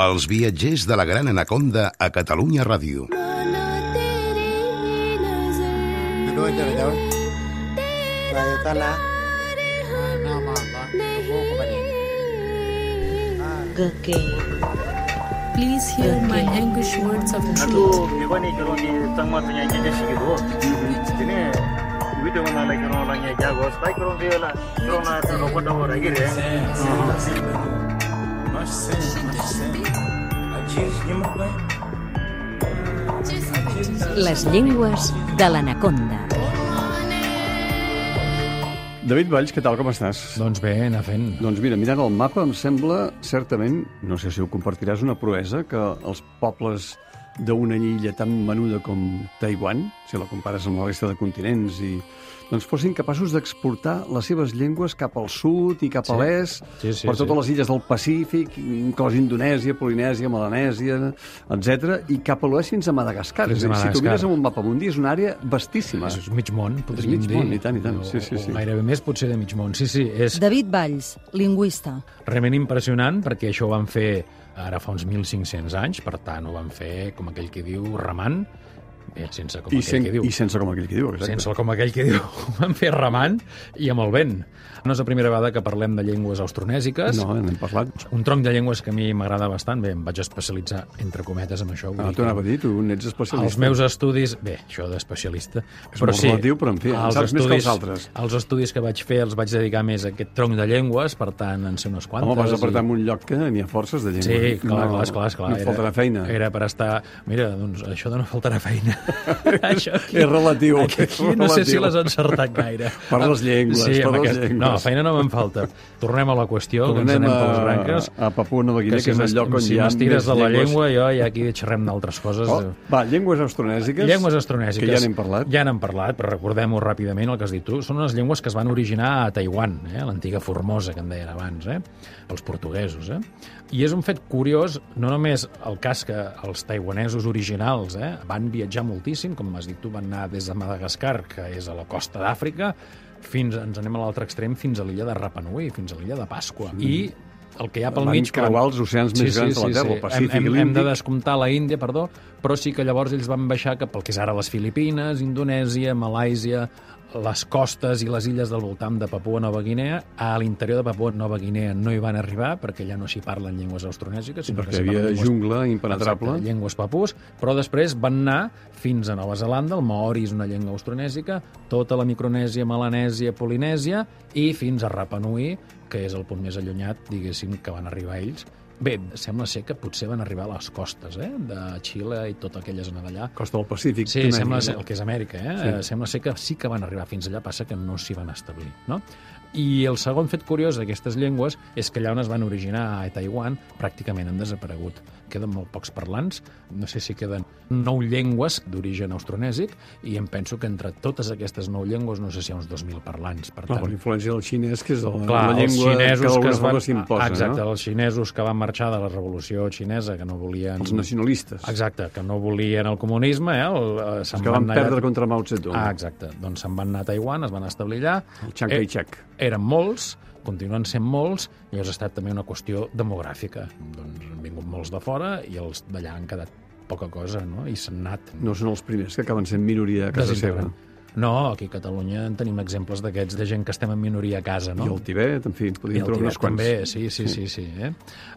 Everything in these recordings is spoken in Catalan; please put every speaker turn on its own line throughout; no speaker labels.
Els viatgers de la Gran Anaconda a Catalunya Ràdio.
Nanonood na rin daw. Bayo tala.
Please hear my anguish words of truth.
또 일본이 결혼이 정말 그냥 이제식이고 이제는 위도 만나라 결혼을 하게 하고 스파이 그런 데라 결혼을 로봇하고 하기래
Les llengües de l'anaconda.
David Valls, què tal, com estàs?
Doncs bé, anar fent.
Doncs mira, mirant el mapa em sembla, certament, no sé si ho compartiràs, una proesa que els pobles d'una illa tan menuda com Taiwan, si la compares amb la resta de continents, i, doncs fossin capaços d'exportar les seves llengües cap al sud i cap a l'est,
Sí, sí,
per totes
sí.
les illes del Pacífic, inclòs Indonèsia, Polinèsia, Melanèsia, etc i cap a l'oest fins a Madagascar.
Fins
Fins a
a
Madagascar. Si tu
Madagascar.
mires amb un mapa mundi, és una àrea vastíssima.
És mig món, podríem
mig
dir.
món, i tant, i tant. Sí, sí,
O-
sí.
O gairebé més, potser, de mig món. Sí, sí, és
David Valls, lingüista.
realment impressionant, perquè això ho van fer ara fa uns 1.500 anys, per tant, ho van fer, com aquell que diu, remant, bé, sense com
I,
aquell
sen,
que diu.
I sense com aquell que diu, exacte.
Sense el com aquell que diu, ho van fer remant i amb el vent. No és la primera vegada que parlem de llengües austronèsiques.
No, eh, n'hem parlat.
Un tronc de llengües que a mi m'agrada bastant. Bé, em vaig especialitzar, entre cometes, en això. vull
Ah, T'ho
dir que-
anava a dir, tu n'ets especialista.
Els meus estudis... Bé, això d'especialista...
molt relatiu, però en fi, en
els
saps més que els altres.
Els estudis que vaig fer els vaig dedicar més a aquest tronc de llengües, per tant, en sé unes quantes.
Home, vas
i-
apretar en un lloc que n'hi ha forces de llengua.
eh. Sí, clar,
no,
clar, esclar, esclar.
No et faltarà feina.
Era per estar... Mira, doncs, això de no faltarà feina. això
És relatiu,
Aquí,
és
aquí no sé si
relatiu.
l'has encertat gaire.
Per les llengües,
sí,
per
amb
les
aquest...
llengües.
No, feina no me'n falta. Tornem a la qüestió, que ens
Tornem
anem per les
a,
branques.
a Papua Nova Guinea, que, és el
m'est-
lloc on
si
hi ha
m'estires
més
de la
llengües.
llengua, jo ja aquí xerrem d'altres coses.
Oh, va, llengües austronèsiques.
Llengües astronèsiques.
Que ja n'hem parlat.
Ja n'hem parlat, però recordem-ho ràpidament, el que has dit tu. Són unes llengües que es van originar a Taiwan, eh? a l'antiga Formosa, que en deien abans, eh? els portuguesos. Eh? I és un fet curiós, no només el cas que els taiwanesos originals eh? van viatjar moltíssim, com has dit tu, van anar des de Madagascar, que és a la costa d'Àfrica, fins, ens anem a l'altre extrem, fins a l'illa de Rapa Nui, fins a l'illa de Pasqua. I el que hi ha pel
Van
mig... quan-
creuar els oceans més grans de la Terra, el Pacífic i
hem, hem, hem de
l'Índic.
descomptar la Índia, perdó, però sí que llavors ells van baixar cap al que és ara les Filipines, Indonèsia, Malàisia, les costes i les illes del voltant de Papua Nova Guinea. A l'interior de Papua Nova Guinea no hi van arribar, perquè ja no s'hi parlen llengües austronèsiques, sinó
Perquè hi
que s'hi
havia
parlen llengües
jungla impenetrable.
Exacte, llengües papús, però després van anar fins a Nova Zelanda, el maori és una llengua austronèsica, tota la micronèsia, melanèsia, polinèsia, i fins a Rapa Nui, que és el punt més allunyat, diguéssim, que van arribar ells. Bé, sembla ser que potser van arribar a les costes, eh? de Xile i tot aquelles zones d'allà.
Costa del Pacífic.
Sí,
també.
sembla ser, el que és Amèrica, eh? Sí. Sembla ser que sí que van arribar fins allà, passa que no s'hi van establir, no? I el segon fet curiós d'aquestes llengües és que allà on es van originar a Taiwan pràcticament han desaparegut. Queden molt pocs parlants, no sé si queden nou llengües d'origen austronèsic i em penso que entre totes aquestes nou llengües no sé si hi ha uns 2.000 parlants. Per
Clar, per
tant,
la influència del xinès, que és la,
Clar,
la llengua que
els xinesos que
d'alguna
es van...
forma s'imposa.
Exacte,
no?
els xinesos que van marxar de la revolució xinesa, que no volien...
Els nacionalistes.
Exacte, que no volien el comunisme, eh? El, eh, se'n
Els que van
anar allà-
perdre contra Mao Zedong.
Ah, exacte. Doncs se'n van anar a Taiwan, es van establir allà.
El Chiang
Eh,
Kai-shek.
Eren molts, continuen sent molts, i llavors ha estat també una qüestió demogràfica. Doncs han vingut molts de fora i els d'allà han quedat poca cosa, no? I s'han anat
No són els primers que acaben sent minoria a casa seva.
desintegrant. No, aquí a Catalunya en tenim exemples d'aquests de gent que estem en minoria a casa, no?
I el Tibet, en fi, en
I
podríem
el
trobar
Tibet
uns quants.
també, sí, sí, sí. sí, eh?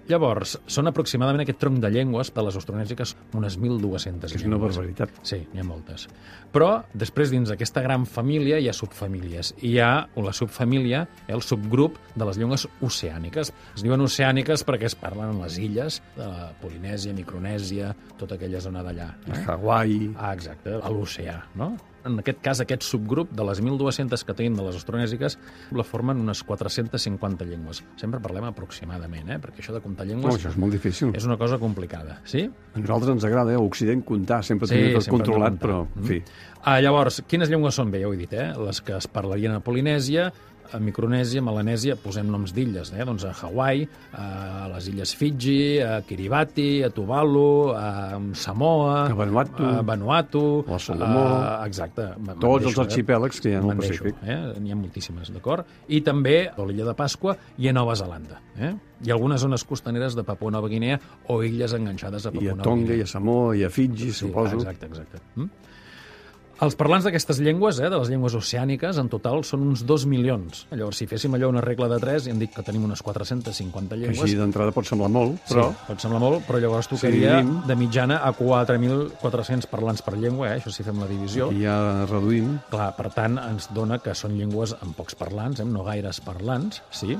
Llavors, són aproximadament aquest tronc de llengües de les austronèsiques unes 1.200
Que és una
llengües.
barbaritat.
Sí, n'hi ha moltes. Però després dins d'aquesta gran família hi ha subfamílies. I hi ha la subfamília, eh, el subgrup de les llengües oceàniques. Es diuen oceàniques perquè es parlen en les illes de la Polinèsia, Micronèsia, tota aquella zona d'allà. Eh?
Hawaii,
Ah, exacte, a l'oceà, no? En aquest cas, aquest subgrup de les 1.200 que tenim de les austronèsiques la formen unes 450 llengües. Sempre parlem aproximadament, eh? perquè això de comptar
No,
llengües
això és molt difícil.
és una cosa complicada, sí?
A nosaltres ens agrada, eh? a Occident, comptar, sempre tenir tot
sempre Mm-hmm. hem de
controlat,
comptar.
però, en fi,
Mm. Ah, llavors, quines llengües són? Bé, ja ho he dit, eh? Les que es parlarien a Polinèsia, a Micronèsia, Melanèsia, posem noms d'illes, eh? doncs a Hawaii, a les illes Fiji, a Kiribati, a Tuvalu, a Samoa,
A Vanuatu.
a, Vanuatu,
A Salomó.
a- exacte. me'n
Tots
deixo,
els arxipèlags que hi ha al
Me'n deixo,
Pacífic.
Eh? N'hi ha moltíssimes, d'acord? I també a l'illa de Pasqua i a Nova Zelanda. Eh? I algunes zones costaneres de Papua Nova Guinea o illes enganxades a Papua
I a
Nova
Tonga,
Guinea.
i a Samoa, i a Fiji, suposo.
Exacte, exacte. Mm? Els parlants d'aquestes llengües, eh, de les llengües oceàniques, en total són uns 2 milions. Llavors, si féssim allò una regla de 3, hem dit que tenim unes 450 llengües.
Així d'entrada pot semblar molt, però...
Sí, pot semblar molt, però llavors
Si
tocaria
dividim-
de mitjana a 4.400 parlants per llengua, eh? això si fem la divisió.
I ja reduïm.
Clar, per tant, ens dona que són llengües amb pocs parlants, eh? amb no gaires parlants, sí.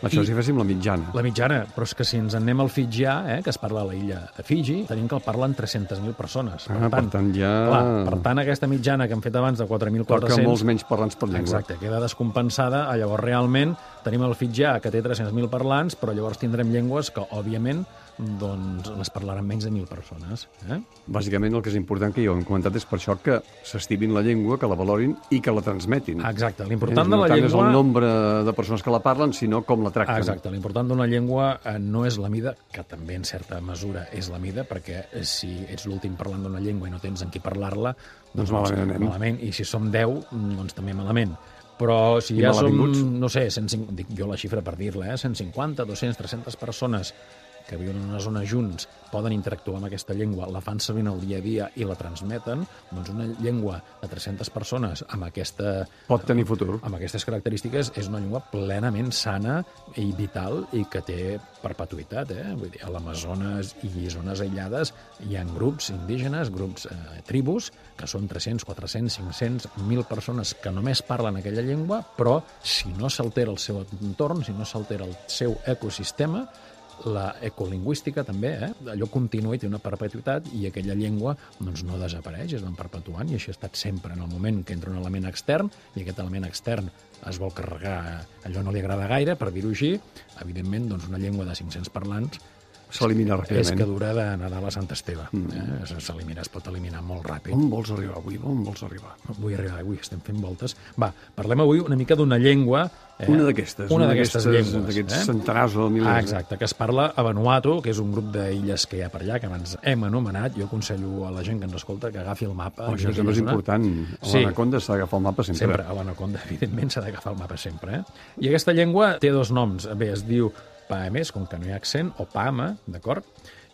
Això
I-
si féssim la mitjana.
La mitjana, però és que si ens en anem al Fitgià, eh, que es parla a la illa de Fiji, tenim que el parlen 300.000 persones. Per
Ah, per
tant,
tant, ja...
Clar, per tant, aquesta mitjana que hem fet abans de
Toca
4.400...
molts menys parlants per llengua.
Exacte, queda descompensada. Ah, Llavors, realment, tenim el Fitjà, que té 300.000 parlants, però llavors tindrem llengües que, òbviament, doncs les parlaran menys de 1.000 persones. Eh?
Bàsicament el que és important, que ja ho hem comentat, és per això que s'estimin la llengua, que la valorin i que la transmetin.
Ah, Exacte,
Eh?
l'important
No
de la
tant és el
llengua...
nombre de persones que la parlen, sinó com la
Ah,
tracten.
Exacte, l'important d'una llengua eh, no és la mida, que també en certa mesura és la mida, perquè eh, si ets l'últim parlant d'una llengua i no tens amb qui parlar-la,
Doncs malament anem.
malament. I si som 10, mm, doncs també malament. Però si
I
ja som,
malavinguts.
no sé, 150, dic jo la xifra per dir-la, eh? 150, 200, 300 persones que viuen en una zona junts, poden interactuar amb aquesta llengua, la fan servir en el dia a dia i la transmeten, doncs una llengua de 300 persones amb aquesta
Pot tenir futur.
amb aquestes característiques és una llengua plenament sana i vital i que té perpetuïtat. Eh? Vull dir, a l'Amazones i zones aïllades hi ha grups indígenes, grups eh, tribus, que són 300, 400, 500, 1.000 persones que només parlen aquella llengua, però si no s'altera el seu entorn, si no s'altera el seu ecosistema, la ecolingüística també, eh? allò continua i té una perpetuïtat i aquella llengua doncs, no desapareix, es van perpetuant i això ha estat sempre en el moment que entra un element extern i aquest element extern es vol carregar, allò no li agrada gaire, per dir-ho així, evidentment doncs, una llengua de 500 parlants
S'elimina
és que
ràpidament.
dura de Nadal a Sant Esteve. Mm. Eh? S'elimina, es pot eliminar molt ràpid.
On vols arribar avui? On vols arribar?
Vull arribar, avui estem fent voltes. Va, parlem avui una mica d'una llengua... Eh,
Una d'aquestes.
Una d'aquestes llengües. eh?
D'aquests centenars o milers.
Ah,
eh?
exacte, que es parla a Vanuatu, que és un grup d'illes que hi ha per allà, que abans hem anomenat. Jo aconsello a la gent que ens escolta que agafi el mapa.
Oh, això
Mira
també és
quina zona.
important. A
eh? Sí.
l'anaconda s'ha d'agafar el mapa sempre.
Sempre, a l'anaconda, evidentment, s'ha d'agafar el mapa sempre. Eh? I aquesta llengua té dos noms. Bé, es diu Paemés, com que no hi ha accent, o Paama, d'acord?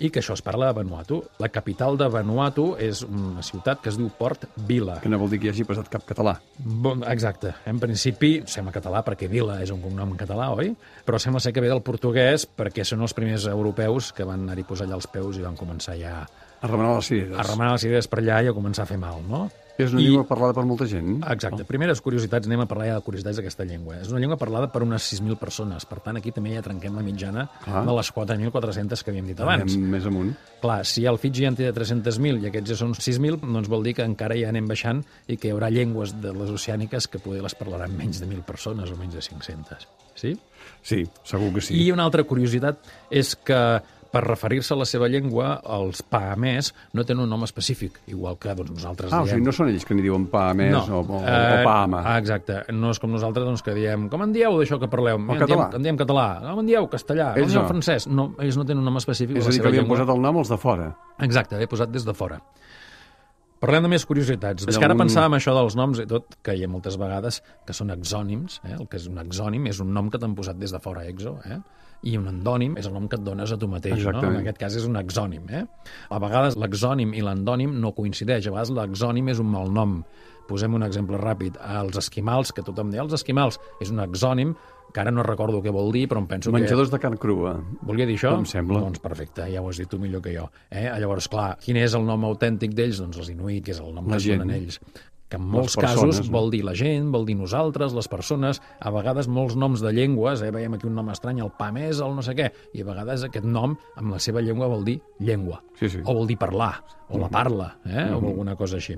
I que això es parla a Vanuatu. La capital de Vanuatu és una ciutat que es diu Port Vila.
Que no vol dir que hi hagi passat cap català.
Bon, exacte. En principi sembla català perquè Vila és un cognom en català, oi? Però sembla ser que ve del portuguès perquè són els primers europeus que van anar-hi posar allà els peus i van començar ja
A remenar les cireres.
a remenar les idees per allà i a començar a fer mal, no?
És una
I-
llengua Oh. parlada per molta gent.
Exacte. Primeres curiositats, anem a parlar ja de curiositats d'aquesta llengua. És una llengua parlada per unes 6.000 persones, per tant, aquí també ja trenquem la mitjana
Clar.
de les 4.400 que havíem dit abans.
Anem més amunt.
Clar, si el Fiji ja en té 300.000 i aquests ja són 6.000, doncs vol dir que encara ja anem baixant i que hi haurà llengües de les oceàniques que poder les parlaran menys de 1.000 persones o menys de 500. Sí?
Sí, segur que sí.
I una altra curiositat és que per referir-se a la seva llengua, els paamès no tenen un nom específic, igual que doncs, nosaltres
Ah, o
diem...
sigui, no són ells que n'hi diuen pa més o, o,
eh,
o pama.
Ah, exacte. No és com nosaltres doncs, que diem com en dieu d'això que parleu? Mira, en
català.
Diem, en diem català. Com en dieu castellà? Com
Ells
en dieu
no.
francès? No, ells no tenen un nom específic.
és a
de la
dir,
seva
que li han
llengua.
posat el nom els de fora.
Exacte, l'he posat des de fora. Parlem de més curiositats. És que ara
Damunt-
pensàvem això dels noms i tot, que hi ha moltes vegades que són exònims. Eh? El que és un exònim és un nom que t'han posat des de fora, exo. Eh? I un endònim és el nom que et dones a tu mateix. No?
Exactament.
En aquest cas és un exònim. Eh? A vegades l'exònim i l'endònim no coincideix. A vegades l'exònim és un malnom. Posem un exemple ràpid. Els esquimals, que tothom deia els esquimals, és un exònim que ara no recordo què vol dir, però em penso que...
Menjadors de carn crua.
Volia dir això?
Em sembla.
Doncs perfecte, ja ho has dit tu millor que jo. Eh? Llavors, clar, quin és el nom autèntic d'ells? Doncs els Inuit, que és el nom
La
que es donen
gent.
ells. Que en molts
persones,
casos
no?
vol dir la gent, vol dir nosaltres, les persones, a vegades molts noms de llengües, eh? veiem aquí un nom estrany, el pamès, el no sé què, i a vegades aquest nom amb la seva llengua vol dir llengua,
Sí, sí. Mhm.
o vol dir parlar, o la parla, eh? o alguna cosa així.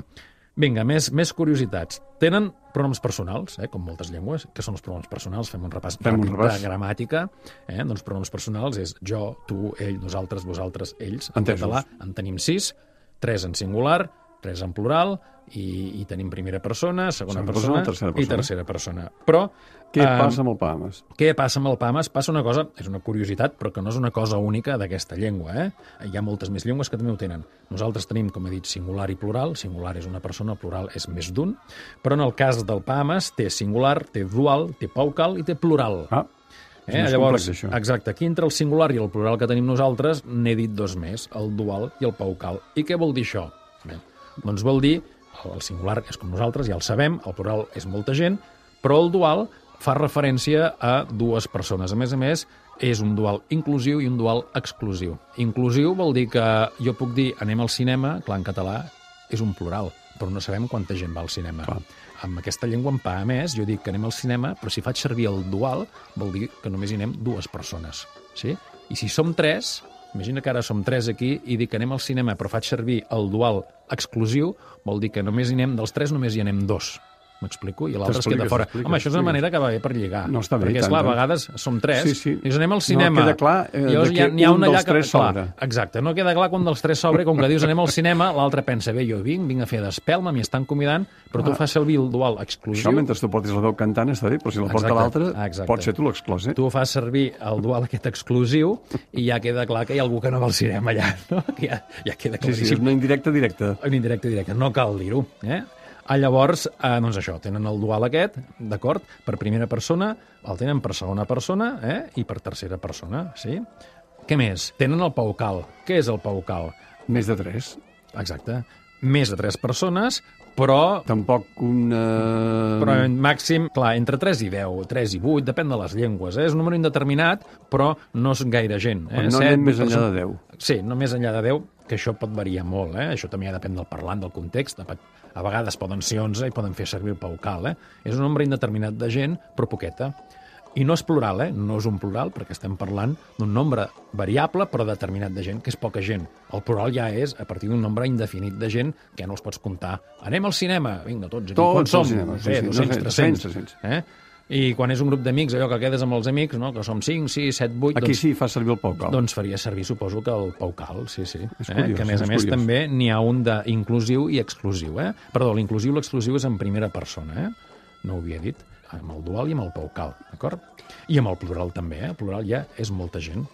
Vinga, més, més curiositats. Tenen pronoms personals, eh? com moltes llengües, que són els pronoms personals, fem un repàs
Fem un
ràpid
repàs.
de gramàtica, eh? doncs pronoms personals és jo, tu, ell, nosaltres, vosaltres, ells. En
Entesos.
català en tenim sis, tres en singular, res en plural, i, i tenim primera persona, segona
Segona persona,
persona,
tercera
i
persona.
tercera persona. Però
Què
eh,
passa amb el Bahamas?
què passa amb el Pames? Passa una cosa, és una curiositat, però que no és una cosa única d'aquesta llengua. Eh? Hi ha moltes més llengües que també ho tenen. Nosaltres tenim, com he dit, singular i plural. Singular és una persona, plural és més d'un. Però en el cas del Pames té singular, té dual, té paucal i té plural.
Ah, és més complex, això.
Eh, Exacte, aquí entre el singular i el plural que tenim nosaltres n'he dit dos més, el dual i el paucal. I què vol dir això? Bé, doncs vol dir, el el singular és com nosaltres, ja el sabem, el plural és molta gent, però el dual fa referència a dues persones. A més a més, és un dual inclusiu i un dual exclusiu. Inclusiu vol dir que jo puc dir anem al cinema, clar, en català és un plural, però no sabem quanta gent va al cinema.
Clar.
Amb aquesta llengua en pa, a més, jo dic que anem al cinema, però si faig servir el dual, vol dir que només hi anem dues persones. Sí? I si som tres, imagina que ara som tres aquí i dic que anem al cinema, però faig servir el dual exclusiu, vol dir que només hi anem, dels tres només hi anem dos. M'explico? I l'altre es queda
T'expliques,
fora.
t'expliques,
Home, això és una
t'expliques.
manera que va bé per lligar.
No, està bé,
Perquè,
i tant,
esclar, a
tant. eh?
vegades som tres,
Sí, sí.
i us anem al
No,
cinema.
queda clar, eh,
Llavors
de
hi ha,
que
n'hi ha
un
una
dels
allà que-
tres
clar,
sobra.
Exacte, no queda clar quan dels tres sobre, com que dius anem al cinema, l'altre pensa, bé, jo vinc, vinc a fer d'espelma, m'hi estan convidant, però tu fas servir el dual
Ah.
exclusiu.
Això mentre tu portis la veu cantant està bé, però si la porta
Exacte,
l'altre,
exacte.
pot ser tu l'exclòs, eh?
Tu fas servir el dual aquest exclusiu i ja queda clar que hi ha algú que no va al cinema allà, no? Que ja, ja queda
Sí, sí,
claríssim.
és una indirecta directa.
En indirecte, directe, no cal dir-ho. Eh? Ah, llavors, eh, doncs això, tenen el dual aquest, d'acord? Per primera persona, el tenen per segona persona eh? i per tercera persona, sí? Què més? Tenen el paucal. Què és el paucal?
Més de tres.
Exacte. Més de tres persones, però
Tampoc una...
però eh, en màxim, clar, entre 3 i 10, 3 i 8, depèn de les llengües. Eh? És un número indeterminat, però no és gaire gent. Eh?
Però no
Set,
anem més
vuit
enllà
persones.
de 10.
Sí, no més enllà de 10, que això pot variar molt. Eh? Això també ja depèn del parlant, del context. A a vegades poden ser 11 i poden fer servir el paucal. Eh? És un nombre indeterminat de gent, però poqueta. I no és plural, eh? no és un plural, perquè estem parlant d'un nombre variable però determinat de gent, que és poca gent. El plural ja és a partir d'un nombre indefinit de gent que ja no els pots comptar. Anem al cinema, vinga, tots aquí,
Tots
quan
al
som?
cinema,
No
sí,
sé,
sí, no
200,
sé,
300.
300.
Eh? I quan és un grup d'amics, allò que quedes amb els amics, no? que som 5, 6, 7, 8...
Aquí sí fa servir el poc. cal.
Doncs faria servir, suposo, que el paucal, sí, sí.
És curiós,
que a més a
és
més
curiós.
també n'hi ha un d'inclusiu i exclusiu, eh? Perdó, l'inclusiu i l'exclusiu és en primera persona, eh? No ho havia dit. Amb el dual i amb el paucal, d'acord? I amb el plural també, eh? El plural ja és molta gent.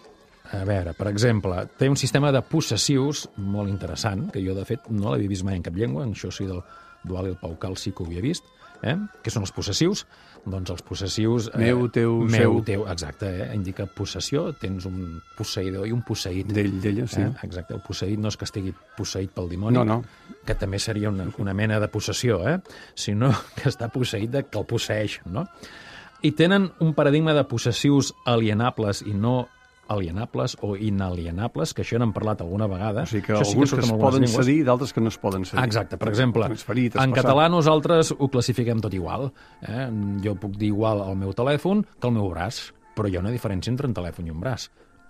A veure, per exemple, té un sistema de possessius molt interessant, que jo, de fet, no l'havia vist mai en cap llengua, en això sí del dual i el paucal sí que ho havia vist, eh? que són els possessius. Doncs els possessius... eh,
Meu, teu,
meu,
seu.
teu, exacte, eh? indica possessió, tens un posseïdor i un posseït.
D'ell, d'ella, sí.
Eh? Exacte, el posseït no és que estigui posseït pel dimoni,
No, no.
que també seria una, una mena de possessió, eh? sinó que està posseït de que el posseeix. No? I tenen un paradigma de possessius alienables i no alienables o inalienables, que això n'hem parlat alguna vegada.
O sigui que
Això sí
alguns que,
surt en
es
algunes
poden
llengües.
cedir i d'altres que no es poden cedir.
Exacte, per exemple,
Transferir,
en
traspassar.
català nosaltres ho classifiquem tot igual. Eh? Jo puc dir igual al meu telèfon que al meu braç, però hi ha una diferència entre un telèfon i un braç.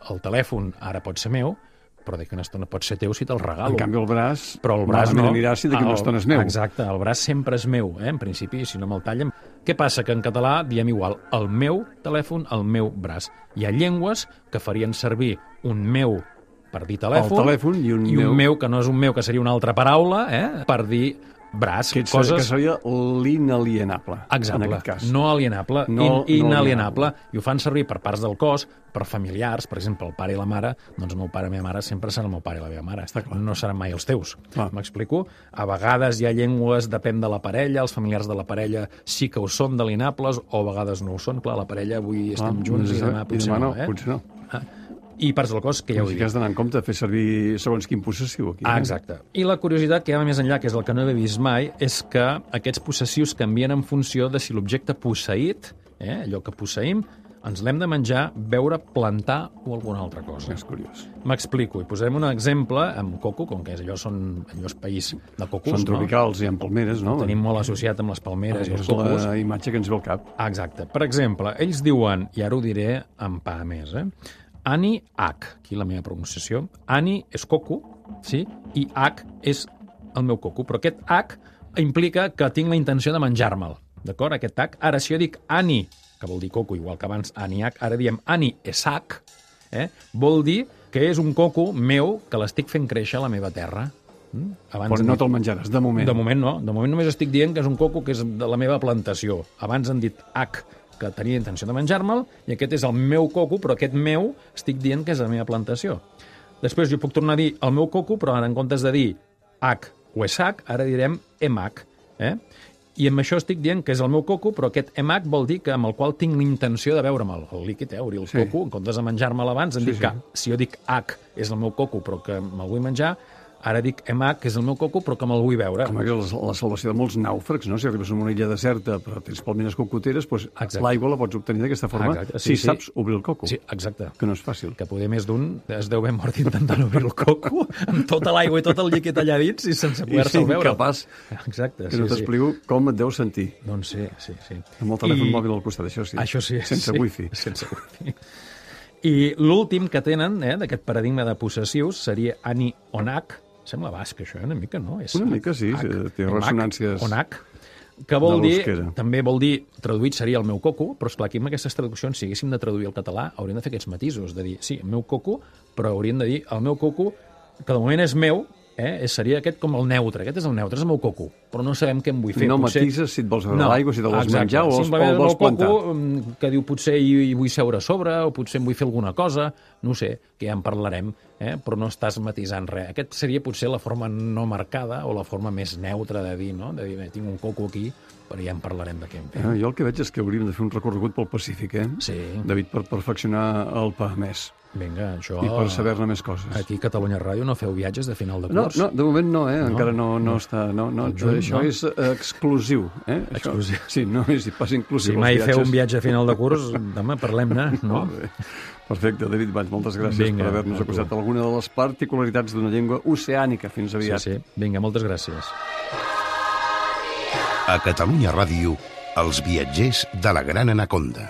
El telèfon ara pot ser meu, però d'aquí una estona pot ser teu si te'l regalo.
En canvi, el braç...
Però el braç no. Ah,
malament anirà si d'aquí
El-
una estona és meu.
Exacte, el braç sempre és meu, eh? en principi, si no me'l tallen. Què passa? Que en català diem igual el meu telèfon, el meu braç. Hi ha llengües que farien servir un meu per dir telèfon,
El telèfon i un
i un
meu.
meu, que no és un meu, que seria una altra paraula, eh? per dir braç,
Que, ets,
coses...
que seria l'inalienable,
Exacte.
en aquest cas.
No alienable, no,
No-
in,
no
inalienable. I ho fan servir per parts del cos, per familiars, per exemple, el pare i la mare, doncs el meu pare i la meva mare sempre serà el meu pare i la meva mare. Està clar. No seran mai els teus.
Clar.
M'explico? A vegades hi ha llengües, depèn de la parella, els familiars de la parella sí que ho són d'alienables o a vegades no ho són. Clar, la parella avui
Clar,
estem junts
doncs,
i demà potser
demà
no, eh?
Potser no.
I parts del cos que ja ho he
Així
dit.
que has d'anar en compte a fer servir segons quin possessiu aquí.
Ah,
eh?
exacte. I la curiositat que hi ha més enllà, que és el que no he vist mai, és que aquests possessius canvien en funció de si l'objecte posseït, eh, allò que posseïm, ens l'hem de menjar, beure, plantar o alguna altra cosa.
És curiós.
M'explico, i posarem un exemple amb coco, com que és allò, són, allò és país de cocos,
Són tropicals i amb palmeres, no?
no? Tenim molt associat amb les palmeres i els
és
cocos.
la imatge que ens ve al cap.
Ah, Exacte. Per exemple, ells diuen, i ara ho diré en pa a més, eh? Ani H, aquí la meva pronunciació. Ani és coco, sí? I H és el meu coco. Però aquest H implica que tinc la intenció de menjar-me'l, d'acord? Aquest H. Ara, si jo dic Ani, que vol dir coco, igual que abans Ani H, ara diem Ani és H, eh? vol dir que és un coco meu que l'estic fent créixer a la meva terra. Mm?
Abans Però no te'l menjaràs, de moment.
De moment no. De moment només estic dient que és un coco que és de la meva plantació. Abans han dit H, que tenia intenció de menjar-me'l, i aquest és el meu coco, però aquest meu estic dient que és de la meva plantació. Després jo puc tornar a dir el meu coco, però ara en comptes de dir H o SH, ara direm MH. Eh? I amb això estic dient que és el meu coco, però aquest EMAC vol dir que amb el qual tinc l'intenció de veure'l, el líquid, eh, obrir el
Sí.
sí. coco, en comptes de menjar-me'l abans, em
Sí,
sí, dic
sí.
que si jo dic H és el meu coco, però que me'l vull menjar, ara dic EMAC, que és el meu coco, però que me'l vull veure.
Com és la, la salvació de molts nàufrags, no? Si arribes a una illa deserta, però tens palmines cocoteres, doncs
Exacte.
l'aigua la pots obtenir d'aquesta forma
Exacte,
si
sí, sí.
saps obrir el coco,
Sí, exacte.
que no és fàcil.
que poder més d'un es deu haver mort intentant obrir el coco amb tota l'aigua i tot el líquid allà dins i
I
sense
ser
poder-se'l veure.
incapaç
Exacte,
que no
sí, sí.
t'explico com et deus sentir
Doncs sí, sí, sí.
amb el telèfon
I-
mòbil al costat, això sí.
Això sí.
Sense
sí,
wifi.
Sense wifi. I l'últim que tenen, eh, d'aquest paradigma de possessius, seria Ani Onak. Sembla basc, això, eh, una mica, no? És
Una mica, sí, sí, té
Onak,
ressonàncies
Onak, que vol
de
dir,
l'euskera.
també vol dir, traduït seria el meu coco, però esclar, aquí amb aquestes traduccions, si haguéssim de traduir al català, hauríem de fer aquests matisos, de dir, sí, el meu coco, però hauríem de dir el meu coco, que de moment és meu, eh, és- seria aquest com el neutre, aquest és el neutre, és el meu coco, però no sabem què en vull fer.
No
potser-
matises si et vols veure l'aigua, si te vols menjar o els-
Simplement
o el vols
és el coco,
plantar.
mm, que diu potser hi, hi vull seure a sobre o potser em vull fer alguna cosa, no ho sé, que ja en parlarem, eh? però no estàs matisant res. Aquest seria potser la forma no marcada o la forma més neutra de dir, no? De dir, bé, tinc un coco aquí, però ja en parlarem de què en fem.
Ah, jo el que veig és que hauríem de fer un recorregut pel Pacífic, eh?
Sí.
David, per perfeccionar el PAMES
Vinga, això...
i per saber-ne més coses.
Aquí a Catalunya Ràdio no feu viatges de final de
No,
curs.
no, de moment no, eh? Encara no, no, està... No, no,
Al juny,
això
no?
és eh, exclusiu, eh? Això-
Exclusiu.
Sí, no és pas inclusiu.
Si
els
mai feu
viatges.
un viatge a final de curs, demà parlem-ne, no?
Molt bé. Perfecte, David Valls, moltes gràcies
Vinga,
per haver-nos
a tu.
acusat alguna de les particularitats d'una llengua oceànica. Fins
Sí,
aviat.
sí. Vinga, moltes gràcies.
A Catalunya Ràdio, els viatgers de la Gran Anaconda.